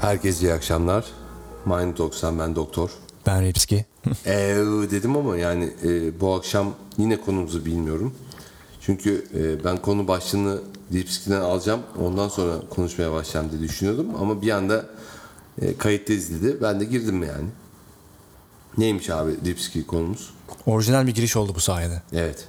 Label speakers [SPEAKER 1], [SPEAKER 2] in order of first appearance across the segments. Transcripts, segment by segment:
[SPEAKER 1] Herkese iyi akşamlar. Mind 90 ben doktor.
[SPEAKER 2] Ben Ripski.
[SPEAKER 1] Eee dedim ama yani e, bu akşam yine konumuzu bilmiyorum. Çünkü e, ben konu başlığını Dipski'den alacağım. Ondan sonra konuşmaya başlayacağım diye düşünüyordum. Ama bir anda e, kayıtta izledi. Ben de girdim yani. Neymiş abi Dipski konumuz?
[SPEAKER 2] Orijinal bir giriş oldu bu sayede.
[SPEAKER 1] Evet.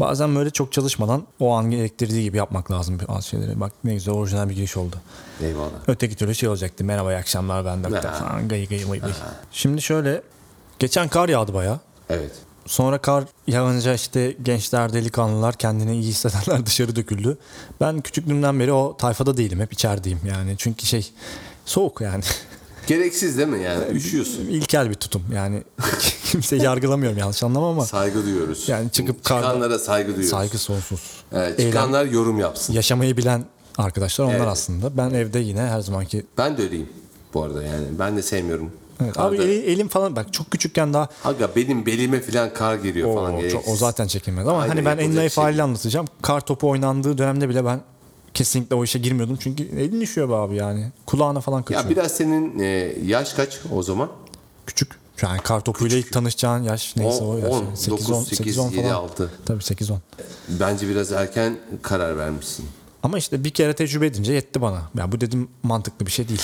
[SPEAKER 2] Bazen böyle çok çalışmadan o an gerektirdiği gibi yapmak lazım bazı şeyleri. Bak ne güzel orijinal bir giriş oldu.
[SPEAKER 1] Eyvallah.
[SPEAKER 2] Öteki türlü şey olacaktı. Merhaba iyi akşamlar ben doktor
[SPEAKER 1] Ha.
[SPEAKER 2] falan gayı gayı gayı. Şimdi şöyle geçen kar yağdı baya.
[SPEAKER 1] Evet.
[SPEAKER 2] Sonra kar yağınca işte gençler, delikanlılar, kendini iyi hissedenler dışarı döküldü. Ben küçüklüğümden beri o tayfada değilim. Hep içerideyim yani. Çünkü şey soğuk yani.
[SPEAKER 1] Gereksiz değil mi yani? Üşüyorsun.
[SPEAKER 2] İlkel bir tutum yani. Kimseyi yargılamıyorum yanlış anlama ama.
[SPEAKER 1] Saygı duyuyoruz.
[SPEAKER 2] Yani çıkıp karda-
[SPEAKER 1] Çıkanlara saygı duyuyoruz.
[SPEAKER 2] Saygı sonsuz.
[SPEAKER 1] Evet,
[SPEAKER 2] Eylem-
[SPEAKER 1] çıkanlar yorum yapsın.
[SPEAKER 2] yaşamayı bilen arkadaşlar onlar
[SPEAKER 1] Evet.
[SPEAKER 2] aslında. Ben evde yine her zamanki
[SPEAKER 1] Ben de öyleyim bu arada yani. Ben de sevmiyorum.
[SPEAKER 2] Evet,
[SPEAKER 1] Karda-
[SPEAKER 2] abi e- eli- elim falan bak çok küçükken daha
[SPEAKER 1] Aga benim belime filan kar giriyor
[SPEAKER 2] o,
[SPEAKER 1] falan.
[SPEAKER 2] çok-
[SPEAKER 1] gereksiz.
[SPEAKER 2] o zaten çekilmez ama
[SPEAKER 1] Aynen,
[SPEAKER 2] hani ben en
[SPEAKER 1] yapılacak
[SPEAKER 2] naif
[SPEAKER 1] şey
[SPEAKER 2] halini anlatacağım. Kar topu oynandığı dönemde bile ben kesinlikle o işe girmiyordum çünkü elin düşüyor be abi yani. Kulağına falan kaçıyor.
[SPEAKER 1] Ya biraz senin e, yaş kaç o zaman?
[SPEAKER 2] Küçük. Yani kar topuyla ilk tanışacağın yaş neyse
[SPEAKER 1] On-
[SPEAKER 2] o yaş.
[SPEAKER 1] on,
[SPEAKER 2] yani. 8 10
[SPEAKER 1] dokuz, sekiz,
[SPEAKER 2] 8 10
[SPEAKER 1] yedi,
[SPEAKER 2] falan.
[SPEAKER 1] altı.
[SPEAKER 2] Tabii 8 10.
[SPEAKER 1] Bence biraz erken karar vermişsin.
[SPEAKER 2] Ama işte bir kere tecrübe edince yetti bana. Ya bu dedim mantıklı bir şey değil.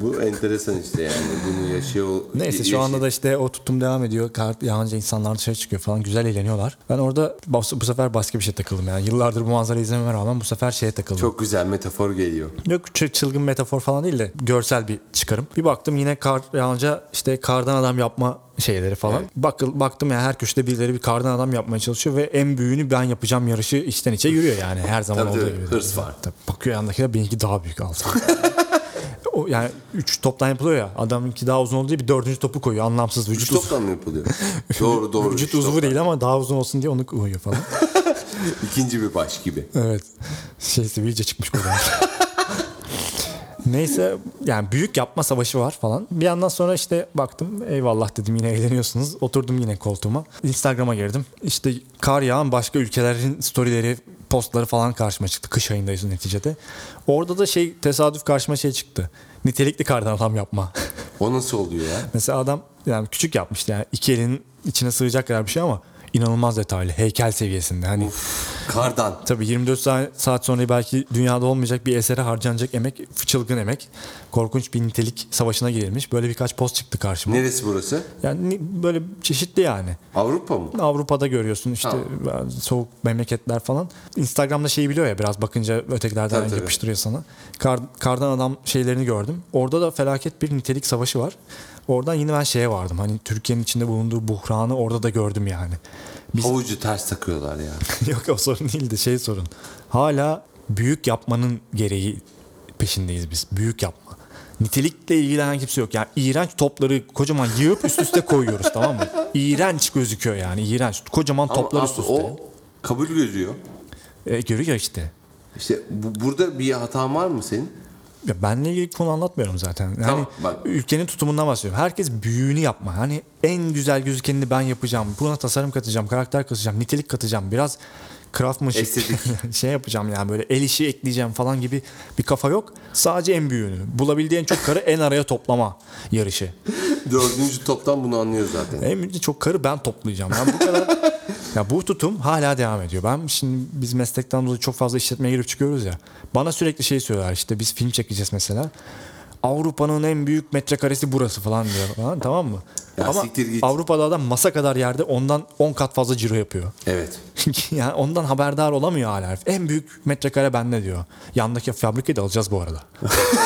[SPEAKER 1] Bu enteresan işte yani bunu yaşıyor.
[SPEAKER 2] Neyse şu anda da işte o tutum devam ediyor. Kar yağınca insanlar dışarı çıkıyor falan. Güzel eğleniyorlar. Ben orada bas- bu sefer başka bir şey takıldım yani. Yıllardır bu manzarayı izlememe rağmen bu sefer şeye takıldım.
[SPEAKER 1] Çok güzel metafor geliyor.
[SPEAKER 2] Yok çı- çılgın metafor falan değil de görsel bir çıkarım. Bir baktım yine kar yağınca işte kardan adam yapma şeyleri falan.
[SPEAKER 1] Evet.
[SPEAKER 2] Bakıl baktım yani her köşede birileri bir kardan adam yapmaya çalışıyor ve en büyüğünü ben yapacağım yarışı içten içe yürüyor yani her zaman
[SPEAKER 1] Tabii,
[SPEAKER 2] olduğu
[SPEAKER 1] tabii.
[SPEAKER 2] gibi.
[SPEAKER 1] Hırs var.
[SPEAKER 2] Tabii, bakıyor yandaki de benimki daha büyük altı. o yani 3 toptan yapılıyor ya. Adamınki daha uzun olduğu diye bir dördüncü topu koyuyor. Anlamsız vücut
[SPEAKER 1] Üç
[SPEAKER 2] uzun.
[SPEAKER 1] toptan mı yapılıyor? doğru doğru.
[SPEAKER 2] Vücut
[SPEAKER 1] üç
[SPEAKER 2] uzvu
[SPEAKER 1] toptan.
[SPEAKER 2] değil ama daha uzun olsun diye onu koyuyor falan.
[SPEAKER 1] İkinci bir baş gibi.
[SPEAKER 2] evet. Şeysi iyice çıkmış buradan. Neyse yani büyük yapma savaşı var falan. Bir yandan sonra işte baktım eyvallah dedim yine eğleniyorsunuz. Oturdum yine koltuğuma. Instagram'a girdim. İşte kar yağan başka ülkelerin storyleri, postları falan karşıma çıktı. Kış ayındayız neticede. Orada da şey tesadüf karşıma şey çıktı. Nitelikli kardan adam yapma.
[SPEAKER 1] O nasıl oluyor ya?
[SPEAKER 2] Mesela adam yani küçük yapmıştı yani iki elin içine sığacak kadar bir şey ama inanılmaz detaylı heykel seviyesinde. Hani
[SPEAKER 1] Kardan.
[SPEAKER 2] tabii 24 sa- saat sonra belki dünyada olmayacak bir esere harcanacak emek, fıçılgın emek. Korkunç bir nitelik savaşına girilmiş. Böyle birkaç post çıktı karşıma.
[SPEAKER 1] Neresi burası?
[SPEAKER 2] Yani ni- böyle çeşitli yani.
[SPEAKER 1] Avrupa mı?
[SPEAKER 2] Avrupa'da görüyorsun işte soğuk memleketler falan. Instagram'da şeyi biliyor ya biraz bakınca ötekilerden
[SPEAKER 1] Tabii, tabii.
[SPEAKER 2] yapıştırıyor sana. Kar, kardan adam şeylerini gördüm. Orada da felaket bir nitelik savaşı var. Oradan yine ben şeye vardım. Hani Türkiye'nin içinde bulunduğu buhranı orada da gördüm yani. Biz
[SPEAKER 1] Havucu ters takıyorlar ya.
[SPEAKER 2] yok o sorun değildi şey sorun. Hala büyük yapmanın gereği peşindeyiz biz. Büyük yapma. Nitelikle ilgilenen kimse yok. Yani iğrenç topları kocaman yığıp üst üste koyuyoruz tamam mı? İğrenç gözüküyor yani iğrenç. Kocaman
[SPEAKER 1] Ama
[SPEAKER 2] toplar üst
[SPEAKER 1] aslında
[SPEAKER 2] üste.
[SPEAKER 1] o kabul görüyor.
[SPEAKER 2] E, görüyor işte.
[SPEAKER 1] İşte bu- burada bir hatan var mı senin?
[SPEAKER 2] Ya benle ilgili konu anlatmıyorum zaten. Yani
[SPEAKER 1] Tamam, bak.
[SPEAKER 2] ülkenin tutumundan bahsediyorum. Herkes büyüğünü yapma. Hani en güzel gözükenini ben yapacağım. Buna tasarım katacağım, karakter katacağım, nitelik katacağım. Biraz craftmanship
[SPEAKER 1] Estetik.
[SPEAKER 2] şey yapacağım yani böyle el işi ekleyeceğim falan gibi bir kafa yok. Sadece en büyüğünü. Bulabildiği en çok karı en araya toplama yarışı.
[SPEAKER 1] Dördüncü toptan bunu anlıyor zaten.
[SPEAKER 2] En önce çok karı ben toplayacağım. Ben bu kadar ya bu tutum hala devam ediyor. Ben şimdi biz meslekten dolayı çok fazla işletmeye girip çıkıyoruz ya. Bana sürekli şey söylüyorlar işte biz film çekeceğiz mesela. Avrupa'nın en büyük metrekaresi burası falan diyor falan tamam mı?
[SPEAKER 1] Ya
[SPEAKER 2] Ama
[SPEAKER 1] siktir git.
[SPEAKER 2] Avrupa'da adam masa kadar yerde ondan 10 kat fazla ciro yapıyor.
[SPEAKER 1] Evet.
[SPEAKER 2] yani ondan haberdar olamıyor hala herif. En büyük metrekare bende diyor. Yandaki fabrikayı da alacağız bu arada.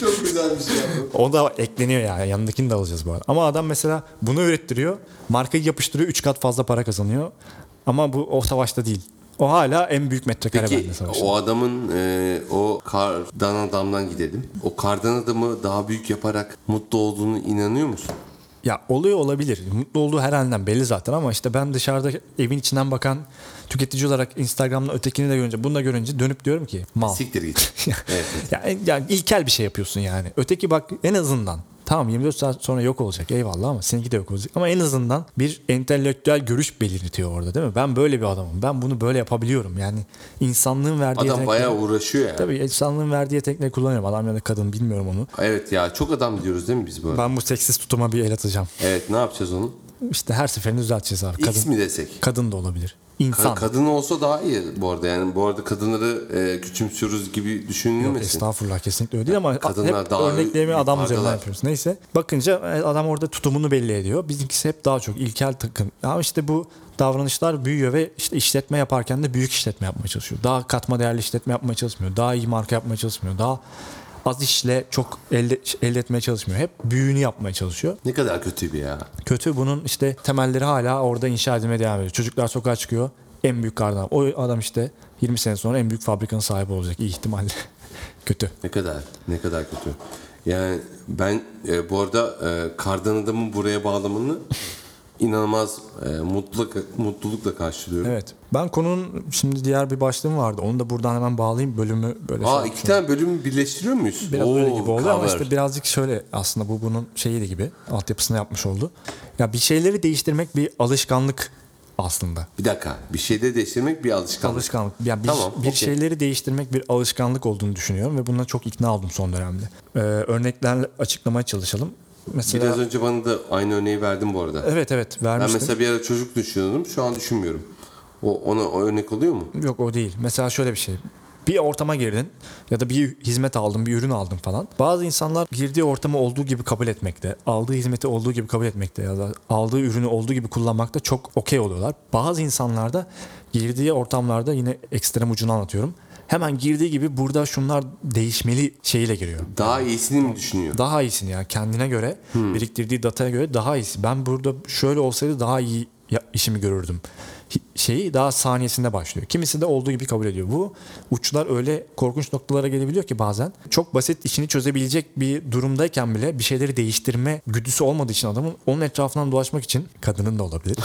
[SPEAKER 1] Çok güzel bir şey
[SPEAKER 2] O da ekleniyor yani. Yanındakini de alacağız bu arada. Ama adam mesela bunu ürettiriyor. Markayı yapıştırıyor. 3 kat fazla para kazanıyor. Ama bu o savaşta değil. O hala en büyük metrekare bende savaşta.
[SPEAKER 1] o adamın e, o kardan adamdan gidelim. O kardan adamı daha büyük yaparak mutlu olduğunu inanıyor musun?
[SPEAKER 2] Ya oluyor olabilir. Mutlu olduğu her halinden belli zaten ama işte ben dışarıda evin içinden bakan tüketici olarak Instagram'da ötekini de görünce bunu da görünce dönüp diyorum ki mal.
[SPEAKER 1] Siktir git. evet.
[SPEAKER 2] ya, en- ya ilkel bir şey yapıyorsun yani. Öteki bak en azından Tamam 24 saat sonra yok olacak eyvallah ama seninki de yok olacak. Ama en azından bir entelektüel görüş belirtiyor orada değil mi? Ben böyle bir adamım. Ben bunu böyle yapabiliyorum. Yani insanlığın verdiği
[SPEAKER 1] Adam
[SPEAKER 2] yetenekleri-
[SPEAKER 1] bayağı uğraşıyor yani.
[SPEAKER 2] Tabii insanlığın verdiği yetenekleri kullanıyorum. Adam ya da kadın bilmiyorum onu.
[SPEAKER 1] Evet ya çok adam diyoruz değil mi biz böyle?
[SPEAKER 2] Ben bu seksist tutuma bir el atacağım.
[SPEAKER 1] Evet ne yapacağız onu?
[SPEAKER 2] İşte her seferini düzelteceğiz abi. Kadın,
[SPEAKER 1] X mi desek?
[SPEAKER 2] kadın da olabilir.
[SPEAKER 1] Ka-
[SPEAKER 2] İnsan.
[SPEAKER 1] Kadın olsa daha iyi bu arada yani. Bu arada kadınları e, küçümsüyoruz gibi düşünülmesin.
[SPEAKER 2] Estağfurullah kesinlikle öyle değil ama
[SPEAKER 1] Kadınlar
[SPEAKER 2] hep
[SPEAKER 1] daha
[SPEAKER 2] örneklemi adam
[SPEAKER 1] yukarıdalar.
[SPEAKER 2] üzerinden yapıyoruz. Neyse bakınca e, adam orada tutumunu belli ediyor. Bizimkisi hep daha çok ilkel takım. Ama işte bu davranışlar büyüyor ve işte işletme yaparken de büyük işletme yapmaya çalışıyor. Daha katma değerli işletme yapmaya çalışmıyor. Daha iyi marka yapmaya çalışmıyor. Daha az işle çok elde, elde etmeye çalışmıyor. Hep büyüğünü yapmaya çalışıyor.
[SPEAKER 1] Ne kadar kötü bir ya.
[SPEAKER 2] Kötü bunun işte temelleri hala orada inşa edilmeye devam ediyor. Çocuklar sokağa çıkıyor. En büyük kardan. O adam işte 20 sene sonra en büyük fabrikanın sahibi olacak iyi ihtimalle. Kötü.
[SPEAKER 1] Ne kadar ne kadar kötü. Yani ben e, bu arada e, kardan adamın buraya bağlamını inanılmaz e, mutluluk, mutlulukla karşılıyorum.
[SPEAKER 2] Evet. Ben konunun şimdi diğer bir başlığım vardı. Onu da buradan hemen bağlayayım. Bölümü böyle.
[SPEAKER 1] Aa
[SPEAKER 2] şey-
[SPEAKER 1] iki tane bölümü birleştiriyor muyuz?
[SPEAKER 2] Biraz böyle gibi oldu ama
[SPEAKER 1] cover.
[SPEAKER 2] işte birazcık şöyle aslında bu bunun şeyi gibi altyapısını yapmış oldu. Ya bir şeyleri değiştirmek bir alışkanlık aslında.
[SPEAKER 1] Bir dakika. Bir şeyde değiştirmek bir alışkanlık.
[SPEAKER 2] Alışkanlık. Yani bir,
[SPEAKER 1] Tamam,
[SPEAKER 2] bir
[SPEAKER 1] okey.
[SPEAKER 2] şeyleri değiştirmek bir alışkanlık olduğunu düşünüyorum ve buna çok ikna oldum son dönemde. Ee, örneklerle açıklamaya çalışalım. Mesela
[SPEAKER 1] Biraz önce bana da aynı örneği verdim bu arada.
[SPEAKER 2] evet evet
[SPEAKER 1] ben
[SPEAKER 2] vermiştim.
[SPEAKER 1] mesela bir ara çocuk düşünüyordum. Şu an düşünmüyorum. O ona o örnek oluyor mu?
[SPEAKER 2] Yok o değil. Mesela şöyle bir şey. Bir ortama girdin ya da bir hizmet aldın, bir ürün aldın falan. Bazı insanlar girdiği ortamı olduğu gibi kabul etmekte, aldığı hizmeti olduğu gibi kabul etmekte ya da aldığı ürünü olduğu gibi kullanmakta çok okey oluyorlar. Bazı insanlar da girdiği ortamlarda yine ekstrem ucunu anlatıyorum. Hemen girdiği gibi burada şunlar değişmeli şeyiyle giriyor
[SPEAKER 1] Daha iyisini mi düşünüyor?
[SPEAKER 2] daha iyisin yani kendine göre biriktirdiği dataya göre daha iyisi. Ben burada şöyle olsaydı daha iyi ya- işimi görürdüm. Hi- Şeyi daha saniyesinde başlıyor. Kimisi de olduğu gibi kabul ediyor. Bu uçlar öyle korkunç noktalara gelebiliyor ki bazen. Çok basit işini çözebilecek bir durumdayken bile bir şeyleri değiştirme güdüsü olmadığı için adamın onun etrafından dolaşmak için kadının da olabilir.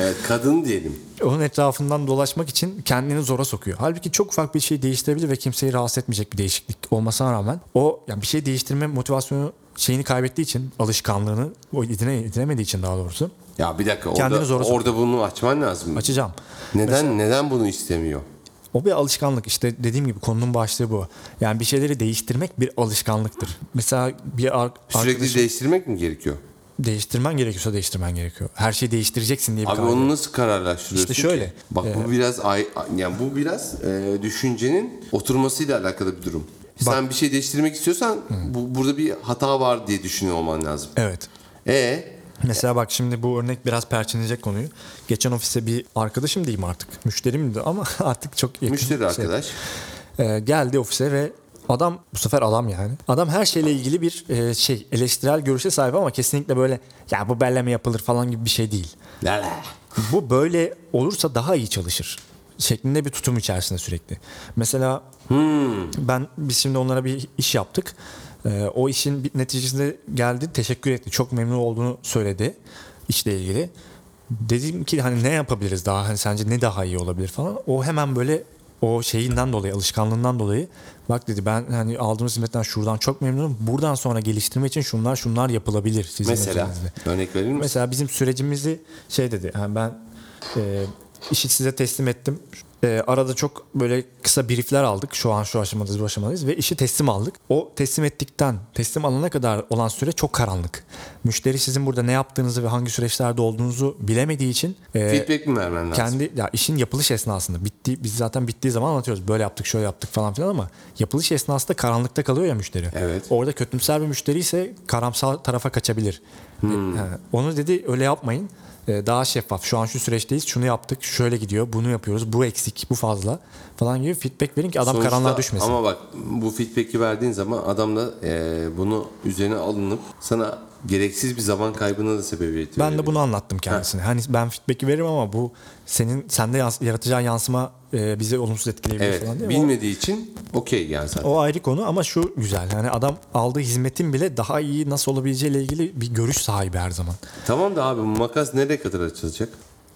[SPEAKER 1] Evet, kadın diyelim.
[SPEAKER 2] onun etrafından dolaşmak için kendini zora sokuyor. Halbuki çok ufak bir şey değiştirebilir ve kimseyi rahatsız etmeyecek bir değişiklik olmasına rağmen o yani bir şey değiştirme motivasyonu şeyini kaybettiği için alışkanlığını o edine, edinemediği için daha doğrusu
[SPEAKER 1] Ya bir dakika.
[SPEAKER 2] Kendini
[SPEAKER 1] Orada,
[SPEAKER 2] zora sok-
[SPEAKER 1] orada bunu açman lazım.
[SPEAKER 2] açacağım.
[SPEAKER 1] neden neden bunu istemiyor?
[SPEAKER 2] O bir alışkanlık işte dediğim gibi konunun başlığı bu. Yani bir şeyleri değiştirmek bir alışkanlıktır. Mesela bir ar-
[SPEAKER 1] Sürekli
[SPEAKER 2] arkadaş-
[SPEAKER 1] değiştirmek mi gerekiyor?
[SPEAKER 2] değiştirmen gerekiyorsa değiştirmen gerekiyor. Her şeyi değiştireceksin diye bir
[SPEAKER 1] Abi
[SPEAKER 2] kaide-
[SPEAKER 1] onu nasıl kararlaştırıyorsun?
[SPEAKER 2] İşte şöyle, e-
[SPEAKER 1] ki? Bak bu biraz ay, yani bu biraz e, düşüncenin oturmasıyla alakalı bir durum. Sen bir şey değiştirmek istiyorsan bu, burada bir hata var diye düşünüyor olman lazım.
[SPEAKER 2] Evet.
[SPEAKER 1] E
[SPEAKER 2] Mesela bak şimdi bu örnek biraz perçinleyecek konuyu. Geçen ofise bir arkadaşım diyeyim artık. Müşterimdi ama artık çok yakın.
[SPEAKER 1] müşteri
[SPEAKER 2] şey.
[SPEAKER 1] arkadaş.
[SPEAKER 2] Ee, geldi ofise ve adam bu sefer adam yani. Adam her şeyle ilgili bir e, şey eleştirel görüşe sahip ama kesinlikle böyle ya bu belle mi yapılır falan gibi bir şey değil.
[SPEAKER 1] La la.
[SPEAKER 2] Bu böyle olursa daha iyi çalışır şeklinde bir tutum içerisinde sürekli. Mesela ben biz şimdi onlara bir iş yaptık. Ee, o işin bir neticesinde geldi, teşekkür etti. Çok memnun olduğunu söyledi işle ilgili. Dedim ki hani ne yapabiliriz daha? Hani sence ne daha iyi olabilir falan. O hemen böyle o şeyinden dolayı, alışkanlığından dolayı bak dedi ben hani aldığımız hizmetten şuradan çok memnunum. Buradan sonra geliştirme için şunlar şunlar yapılabilir sizin
[SPEAKER 1] Mesela
[SPEAKER 2] içinizde."
[SPEAKER 1] örnek verir misin?
[SPEAKER 2] Mesela bizim sürecimizi şey dedi. Yani ben e, işi size teslim ettim. E, arada çok böyle kısa briefler aldık. Şu an şu aşamadayız bu aşamadayız ve işi teslim aldık. O teslim ettikten teslim alana kadar olan süre çok karanlık. Müşteri sizin burada ne yaptığınızı ve hangi süreçlerde olduğunuzu bilemediği için e,
[SPEAKER 1] Feedback mi vermen lazım?
[SPEAKER 2] kendi ya işin yapılış esnasında bitti biz zaten bittiği zaman anlatıyoruz böyle yaptık şöyle yaptık falan filan ama yapılış esnasında karanlıkta kalıyor ya müşteri.
[SPEAKER 1] Evet.
[SPEAKER 2] Orada kötümser bir müşteri ise karamsar tarafa kaçabilir.
[SPEAKER 1] Hmm.
[SPEAKER 2] Ha, onu dedi öyle yapmayın. Ee, Daha şeffaf. Şu an şu süreçteyiz. Şunu yaptık. Şöyle gidiyor. Bunu yapıyoruz. Bu eksik. Bu fazla. Falan gibi feedback verin ki adam
[SPEAKER 1] Sonuçta-
[SPEAKER 2] karanlığa düşmesin.
[SPEAKER 1] Ama bak bu feedback'i verdiğin zaman adam da e, bunu üzerine alınıp sana gereksiz bir zaman kaybına da sebebiyet
[SPEAKER 2] Ben
[SPEAKER 1] verebilir.
[SPEAKER 2] de bunu anlattım kendisine. Hani ben feedback'i veririm ama bu senin sende yans- yaratacağı yansıma e, bizi olumsuz etkileyebilir
[SPEAKER 1] Evet.
[SPEAKER 2] falan diye. O-
[SPEAKER 1] Bilmediği için okey yani zaten.
[SPEAKER 2] O ayrı konu ama şu güzel. Yani adam aldığı hizmetin bile daha iyi nasıl olabileceğiyle ilgili bir görüş sahibi her zaman.
[SPEAKER 1] Tamam da abi bu makas nereye kadar açılacak?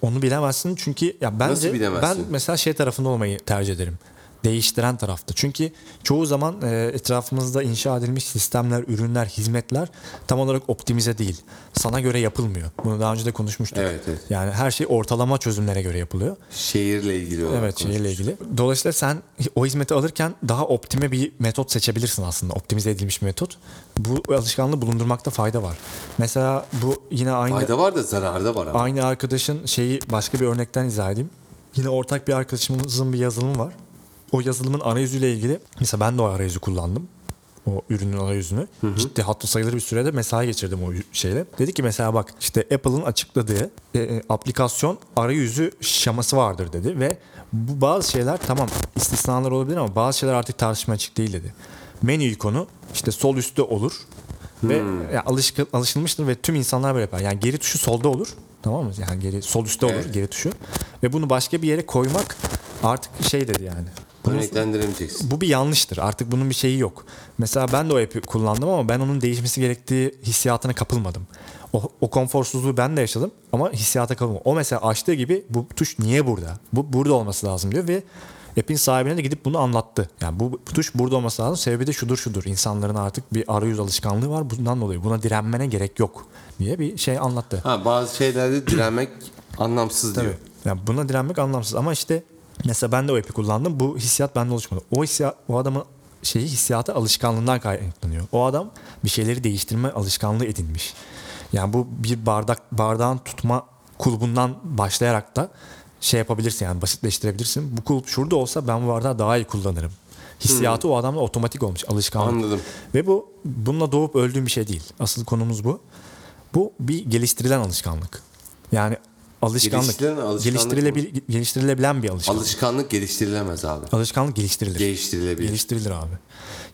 [SPEAKER 2] Onu bilemezsin çünkü ya bence
[SPEAKER 1] Nasıl bilemezsin?
[SPEAKER 2] ben mesela şey tarafında olmayı tercih ederim. değiştiren tarafta. Çünkü çoğu zaman e, etrafımızda inşa edilmiş sistemler, ürünler, hizmetler tam olarak optimize değil. Sana göre yapılmıyor. Bunu daha önce de konuşmuştuk.
[SPEAKER 1] Evet, evet.
[SPEAKER 2] Yani her şey ortalama çözümlere göre yapılıyor.
[SPEAKER 1] Şehirle ilgili olarak.
[SPEAKER 2] Evet
[SPEAKER 1] konuşuyoruz.
[SPEAKER 2] şeyle ilgili. Dolayısıyla sen o hizmeti alırken daha optime bir metot seçebilirsin aslında. Optimize edilmiş bir metot. Bu alışkanlığı bulundurmakta fayda var. Mesela bu yine aynı
[SPEAKER 1] Fayda var da zararı da var ama.
[SPEAKER 2] aynı arkadaşın şeyi başka bir örnekten izah edeyim. Yine ortak bir arkadaşımızın bir yazılımı var. O yazılımın arayüzüyle ilgili mesela ben de o arayüzü kullandım. O ürünün arayüzünü. Ciddi hatta sayılır bir sürede mesai geçirdim o şeyle. Dedi ki mesela bak işte Apple'ın açıkladığı e, e, aplikasyon arayüzü şaması vardır dedi ve bu bazı şeyler tamam istisnalar olabilir ama bazı şeyler artık tartışmaya açık değil dedi. Menü ikonu işte sol üstte olur ve ya alışkı- alışılmıştır ve tüm insanlar böyle yapar. Yani geri tuşu solda olur. Tamam mı? Yani geri sol üstte olur
[SPEAKER 1] Evet.
[SPEAKER 2] geri tuşu. Ve bunu başka bir yere koymak artık şey dedi yani. Bunu-
[SPEAKER 1] Örneklendiremeyeceksin.
[SPEAKER 2] bu bir yanlıştır. Artık bunun bir şeyi yok. Mesela ben de o app'i kullandım ama ben onun değişmesi gerektiği hissiyatına kapılmadım. O, o konforsuzluğu ben de yaşadım ama hissiyata kapılmadım. O mesela açtığı gibi bu tuş niye burada? Bu burada olması lazım diyor ve app'in sahibine de gidip bunu anlattı. Yani bu, bu tuş burada olması lazım. Sebebi de şudur şudur. İnsanların artık bir arayüz alışkanlığı var. Bundan dolayı buna direnmene gerek yok diye bir şey anlattı.
[SPEAKER 1] Ha bazı şeylerde direnmek anlamsız diyor.
[SPEAKER 2] Yani buna direnmek anlamsız ama işte mesela ben de o app'i kullandım. Bu hissiyat bende oluşmadı. O hissiyat, o adamın şeyi hissiyatı alışkanlığından kaynaklanıyor. O adam bir şeyleri değiştirme alışkanlığı edinmiş. Yani bu bir bardak bardağın tutma kulbundan başlayarak da şey yapabilirsin yani basitleştirebilirsin. Bu kulp şurada olsa ben bu bardağı daha iyi kullanırım. Hissiyatı o adamda otomatik olmuş alışkanlık.
[SPEAKER 1] Hmm. Anladım.
[SPEAKER 2] Ve bu bununla doğup öldüğüm bir şey değil. Asıl konumuz bu. Bu bir geliştirilen alışkanlık. Yani alışkanlık.
[SPEAKER 1] Geliştirilen alışkanlık
[SPEAKER 2] geliştirilebil- geliştirilebilen bir alışkanlık.
[SPEAKER 1] Alışkanlık geliştirilemez abi.
[SPEAKER 2] alışkanlık geliştirilir.
[SPEAKER 1] Geliştirilebilir.
[SPEAKER 2] geliştirilir abi.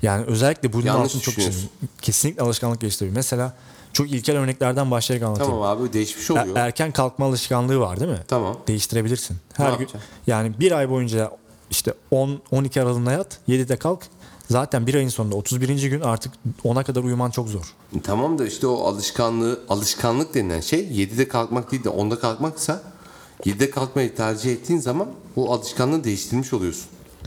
[SPEAKER 2] Yani özellikle bunun
[SPEAKER 1] Yanlış
[SPEAKER 2] altını çok
[SPEAKER 1] düşünüyorsun.
[SPEAKER 2] çizim. Kesinlikle alışkanlık geliştirilir. Mesela çok ilkel örneklerden başlayarak anlatayım.
[SPEAKER 1] tamam abi değişmiş oluyor.
[SPEAKER 2] Er- erken kalkma alışkanlığı var değil mi?
[SPEAKER 1] Tamam.
[SPEAKER 2] Değiştirebilirsin. Her gün
[SPEAKER 1] yapacaksın?
[SPEAKER 2] yani bir ay boyunca işte 10 12 aralığında yat, 7'de kalk. Zaten bir ayın sonunda 31. gün artık 10'a kadar uyuman çok zor.
[SPEAKER 1] Tamam da işte o alışkanlığı, alışkanlık denilen şey 7'de kalkmak değil de 10'da kalkmaksa 7'de kalkmayı tercih ettiğin zaman o alışkanlığı değiştirmiş oluyorsun.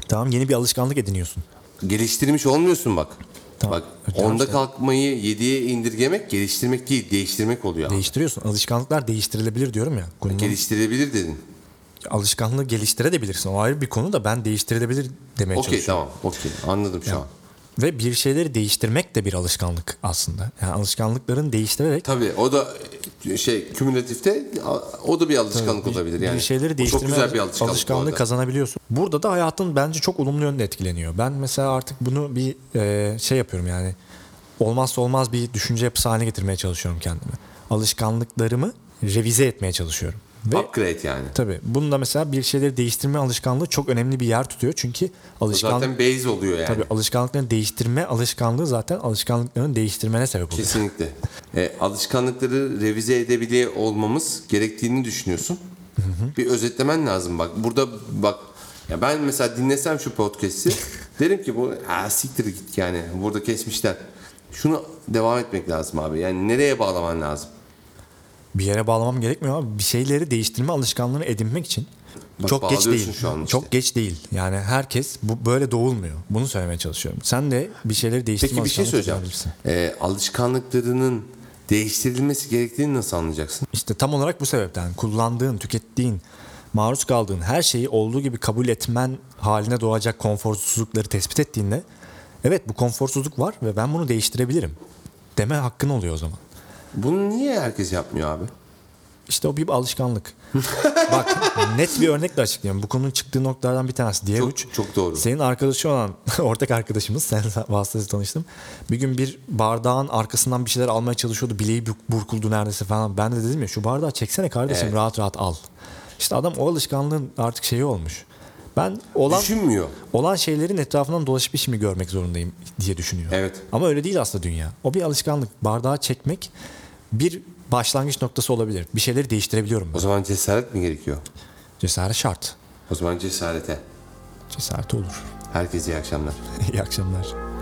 [SPEAKER 2] Tamam yeni bir alışkanlık ediniyorsun.
[SPEAKER 1] Geliştirmiş olmuyorsun bak.
[SPEAKER 2] Tamam.
[SPEAKER 1] Bak
[SPEAKER 2] Tamam
[SPEAKER 1] 10'da
[SPEAKER 2] işte.
[SPEAKER 1] kalkmayı 7'ye indirgemek geliştirmek değil değiştirmek oluyor. abi.
[SPEAKER 2] Değiştiriyorsun. Alışkanlıklar değiştirilebilir diyorum ya. Konunun-
[SPEAKER 1] Geliştirebilir dedin.
[SPEAKER 2] alışkanlığı geliştirebilirsin. O ayrı bir konu da ben değiştirilebilir demeye
[SPEAKER 1] Okey
[SPEAKER 2] çalışıyorum.
[SPEAKER 1] tamam okey anladım şu an.
[SPEAKER 2] Ve bir şeyleri değiştirmek de bir alışkanlık aslında. Yani alışkanlıkların değiştirerek
[SPEAKER 1] Tabii o da e, şey kümülatifte a- o da bir alışkanlık olabilir yani.
[SPEAKER 2] bir şeyleri
[SPEAKER 1] O çok
[SPEAKER 2] değiştirme
[SPEAKER 1] güzel bir alışkanlık. bu
[SPEAKER 2] alışkanlığı
[SPEAKER 1] arada.
[SPEAKER 2] kazanabiliyorsun. Burada da hayatın bence çok olumlu yönde etkileniyor. Ben mesela artık bunu bir e, şey yapıyorum yani olmazsa olmaz bir düşünce yapısı haline getirmeye çalışıyorum kendime. Alışkanlıklarımı revize etmeye çalışıyorum. Ve
[SPEAKER 1] Upgrade yani.
[SPEAKER 2] tabii bununla mesela bir şeyleri değiştirme alışkanlığı çok önemli bir yer tutuyor. Çünkü alışkanlık
[SPEAKER 1] Zaten base oluyor yani.
[SPEAKER 2] Tabii alışkanlıkların değiştirme alışkanlığı zaten alışkanlıkların değiştirmene sebep oluyor.
[SPEAKER 1] Kesinlikle. E, alışkanlıkları revize edebiliyor olmamız gerektiğini düşünüyorsun. Bir özetlemen lazım bak. Burada bak ya ben mesela dinlesem şu podcast'i derim ki bu ha siktir git yani burada kesmişler. Şunu devam etmek lazım abi. Yani nereye bağlaman lazım?
[SPEAKER 2] Bir yere bağlamam gerekmiyor ama bir şeyleri değiştirme alışkanlığını edinmek için
[SPEAKER 1] Bak,
[SPEAKER 2] çok geç
[SPEAKER 1] bağlıyorsun
[SPEAKER 2] değil.
[SPEAKER 1] şu an işte.
[SPEAKER 2] Çok geç değil. Yani herkes bu böyle doğulmuyor. Bunu söylemeye çalışıyorum. Sen de bir şeyleri değiştirme
[SPEAKER 1] Peki bir şey
[SPEAKER 2] alışkanlığı
[SPEAKER 1] söyleyeceğim.
[SPEAKER 2] kazanabilirsin.
[SPEAKER 1] E, alışkanlıklarının değiştirilmesi gerektiğini nasıl anlayacaksın?
[SPEAKER 2] İşte tam olarak bu sebepten kullandığın, tükettiğin, maruz kaldığın her şeyi olduğu gibi kabul etmen haline doğacak konforsuzlukları tespit ettiğinde evet bu konforsuzluk var ve ben bunu değiştirebilirim deme hakkın oluyor o zaman.
[SPEAKER 1] Bunu niye herkes yapmıyor abi?
[SPEAKER 2] İşte o bir alışkanlık. Bak net bir örnekle açıklayayım. Bu konunun çıktığı noktalardan bir tanesi. Diğer uç.
[SPEAKER 1] Çok, çok doğru.
[SPEAKER 2] E, Senin arkadaşı olan ortak arkadaşımız, sen vasıtasıyla tanıştım. Bir gün bir bardağın arkasından bir şeyler almaya çalışıyordu. Bileği bur- burkuldu neredeyse falan. Ben de dedim ya şu bardağı çeksene kardeşim
[SPEAKER 1] Evet.
[SPEAKER 2] rahat rahat al. İşte adam o alışkanlığın artık şeyi olmuş. Ben olan
[SPEAKER 1] Düşünmüyor.
[SPEAKER 2] olan şeylerin etrafından dolaşıp işimi görmek zorundayım diye düşünüyor.
[SPEAKER 1] Evet.
[SPEAKER 2] Ama öyle değil aslında dünya. O bir alışkanlık. Bardağı çekmek bir başlangıç noktası olabilir. Bir şeyleri değiştirebiliyorum
[SPEAKER 1] O
[SPEAKER 2] ben.
[SPEAKER 1] zaman cesaret mi gerekiyor?
[SPEAKER 2] Cesaret şart.
[SPEAKER 1] O zaman cesarete.
[SPEAKER 2] Cesaret olur.
[SPEAKER 1] Herkese iyi akşamlar.
[SPEAKER 2] İyi akşamlar.